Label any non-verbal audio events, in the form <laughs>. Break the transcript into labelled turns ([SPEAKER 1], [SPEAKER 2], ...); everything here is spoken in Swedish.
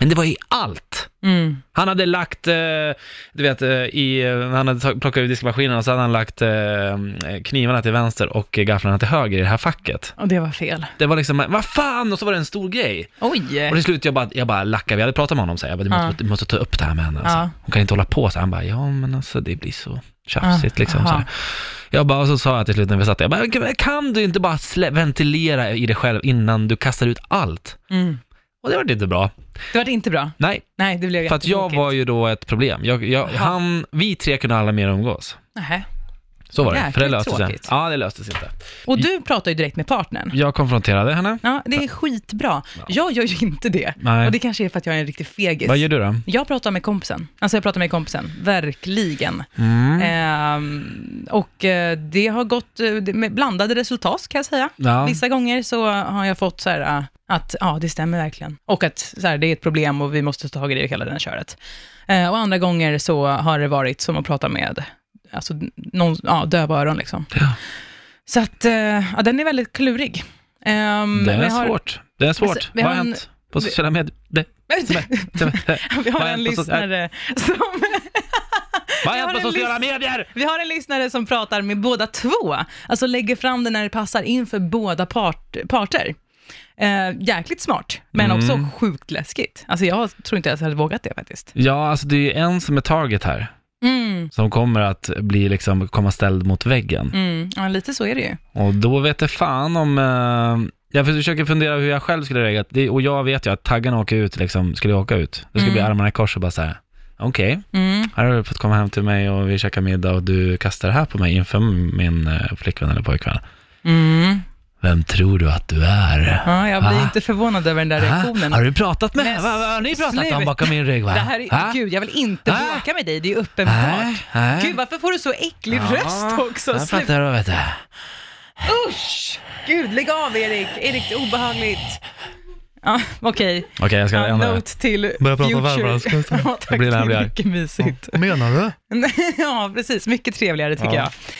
[SPEAKER 1] Men det var i allt.
[SPEAKER 2] Mm.
[SPEAKER 1] Han hade lagt, eh, du vet, eh, i, eh, han hade ta- plockat ur diskmaskinen och så hade han lagt eh, knivarna till vänster och eh, gafflarna till höger i det här facket.
[SPEAKER 2] Och det var fel.
[SPEAKER 1] Det var liksom, vad fan! Och så var det en stor grej.
[SPEAKER 2] Oj!
[SPEAKER 1] Och till slut, jag bara, jag bara lackade, vi hade pratat med honom så här, jag bara, du måste, du måste ta upp det här med henne. Alltså.
[SPEAKER 2] Ja.
[SPEAKER 1] Hon kan inte hålla på så här. Han bara, ja men alltså det blir så tjafsigt
[SPEAKER 2] Ah,
[SPEAKER 1] liksom. Så
[SPEAKER 2] aha.
[SPEAKER 1] här. Jag bara, och så sa jag till slut när vi satt där, jag bara, "Kan- kan du inte bara slä- ventilera i dig själv innan du kastar ut allt?
[SPEAKER 2] Mm.
[SPEAKER 1] Och det var inte bra.
[SPEAKER 2] Det var inte bra.
[SPEAKER 1] Nej,
[SPEAKER 2] Nej, det blev
[SPEAKER 1] för att jag var ju då ett problem. Jag, jag,
[SPEAKER 2] Jaha.
[SPEAKER 1] han, vi tre kunde alla mer umgås.
[SPEAKER 2] Nähä.
[SPEAKER 1] Så var det,
[SPEAKER 2] Jäkligt
[SPEAKER 1] för det löste sig.
[SPEAKER 2] tråkigt.
[SPEAKER 1] Ja, det löstes inte.
[SPEAKER 2] Och du pratar ju direkt med partnern.
[SPEAKER 1] Jag konfronterade henne.
[SPEAKER 2] Ja, det är skitbra. Jag gör ju inte det.
[SPEAKER 1] Nej.
[SPEAKER 2] Och det kanske är för att jag är en riktig fegis.
[SPEAKER 1] Vad gör du då?
[SPEAKER 2] Jag pratar med kompisen. Alltså jag pratar med kompisen, verkligen.
[SPEAKER 1] Mm.
[SPEAKER 2] Eh, Mm. Ehm, och eh, det har gått eh, det- med blandade resultat kan jag säga.
[SPEAKER 1] Ja.
[SPEAKER 2] Vissa gånger så har jag fått så här eh, att ja, det stämmer verkligen. Och att så här, det är ett problem och vi måste ta tag i det hela den köret. Eh, och andra gånger så har det varit som att prata med alltså, någon, ja, döva öron liksom.
[SPEAKER 1] Ja.
[SPEAKER 2] Så att eh, ja, den är väldigt klurig. Ehm,
[SPEAKER 1] Det
[SPEAKER 2] vi
[SPEAKER 1] är
[SPEAKER 2] <laughs> har-
[SPEAKER 1] svårt. Det är svårt.
[SPEAKER 2] Alltså, vi
[SPEAKER 1] Vad har
[SPEAKER 2] har en-
[SPEAKER 1] hänt på sociala medier? Det-
[SPEAKER 2] <laughs> Vi har
[SPEAKER 1] Vad
[SPEAKER 2] en
[SPEAKER 1] händer på soc-
[SPEAKER 2] lyssnare som...
[SPEAKER 1] Vad
[SPEAKER 2] Jag
[SPEAKER 1] har hänt
[SPEAKER 2] har
[SPEAKER 1] på
[SPEAKER 2] en
[SPEAKER 1] sociala medier?
[SPEAKER 2] Vi har en lyssnare som pratar med båda två, alltså lägger fram det när det passar inför båda part, parter. Eh, jäkligt smart, men
[SPEAKER 1] Mm.
[SPEAKER 2] också sjukt läskigt. Alltså jag tror inte jag hade vågat det faktiskt.
[SPEAKER 1] Ja, alltså det är ju en som är target här,
[SPEAKER 2] Mm,
[SPEAKER 1] som kommer att bli liksom, komma ställd mot väggen.
[SPEAKER 2] mm, ja, lite så är det ju.
[SPEAKER 1] Och då vet jag fan om... Eh, jag försöker fundera hur jag själv skulle reagerat. Det- Och jag vet ju att taggarna åker ut, liksom, skulle åka ut. Det skulle bli armarna i kors och bara så här. okej,
[SPEAKER 2] Mm,
[SPEAKER 1] här har du fått komma hem till mig och vi käkar middag och du kastar det här på mig inför min eh, flickvän eller pojkvän.
[SPEAKER 2] mm.
[SPEAKER 1] Vem tror du att du är?
[SPEAKER 2] Ja, jag blir
[SPEAKER 1] Ah.
[SPEAKER 2] inte förvad över den där reaktionen.
[SPEAKER 1] Ah, Har du pratat med
[SPEAKER 2] Men
[SPEAKER 1] henne? Vad vad har ni pratat om
[SPEAKER 2] sluta.
[SPEAKER 1] bakom min rygg? Va?
[SPEAKER 2] Det här är,
[SPEAKER 1] Ah?
[SPEAKER 2] Gud, jag vill inte
[SPEAKER 1] Ah.
[SPEAKER 2] bråka med dig, det är
[SPEAKER 1] Ah?
[SPEAKER 2] uppenbart.
[SPEAKER 1] Ah?
[SPEAKER 2] Gud, varför får du så äcklig
[SPEAKER 1] Ja,
[SPEAKER 2] röst också?
[SPEAKER 1] Jag
[SPEAKER 2] Sluta.
[SPEAKER 1] fattar vad vet du.
[SPEAKER 2] Usch! Gud, lägg av Erik. Erik, det är obehagligt. Ja, okej.
[SPEAKER 1] Okej, jag ska
[SPEAKER 2] Ja,
[SPEAKER 1] ändra det.
[SPEAKER 2] note till
[SPEAKER 3] Börja prata varmare, ska
[SPEAKER 2] future.
[SPEAKER 3] jag säga.
[SPEAKER 2] <laughs> ja, tack,
[SPEAKER 1] blir
[SPEAKER 2] det
[SPEAKER 1] när jag blir
[SPEAKER 2] är
[SPEAKER 1] arg.
[SPEAKER 2] mycket mysigt. <laughs>
[SPEAKER 3] Menar du?
[SPEAKER 2] ja, precis. Mycket trevligare
[SPEAKER 1] Ja.
[SPEAKER 2] tycker jag.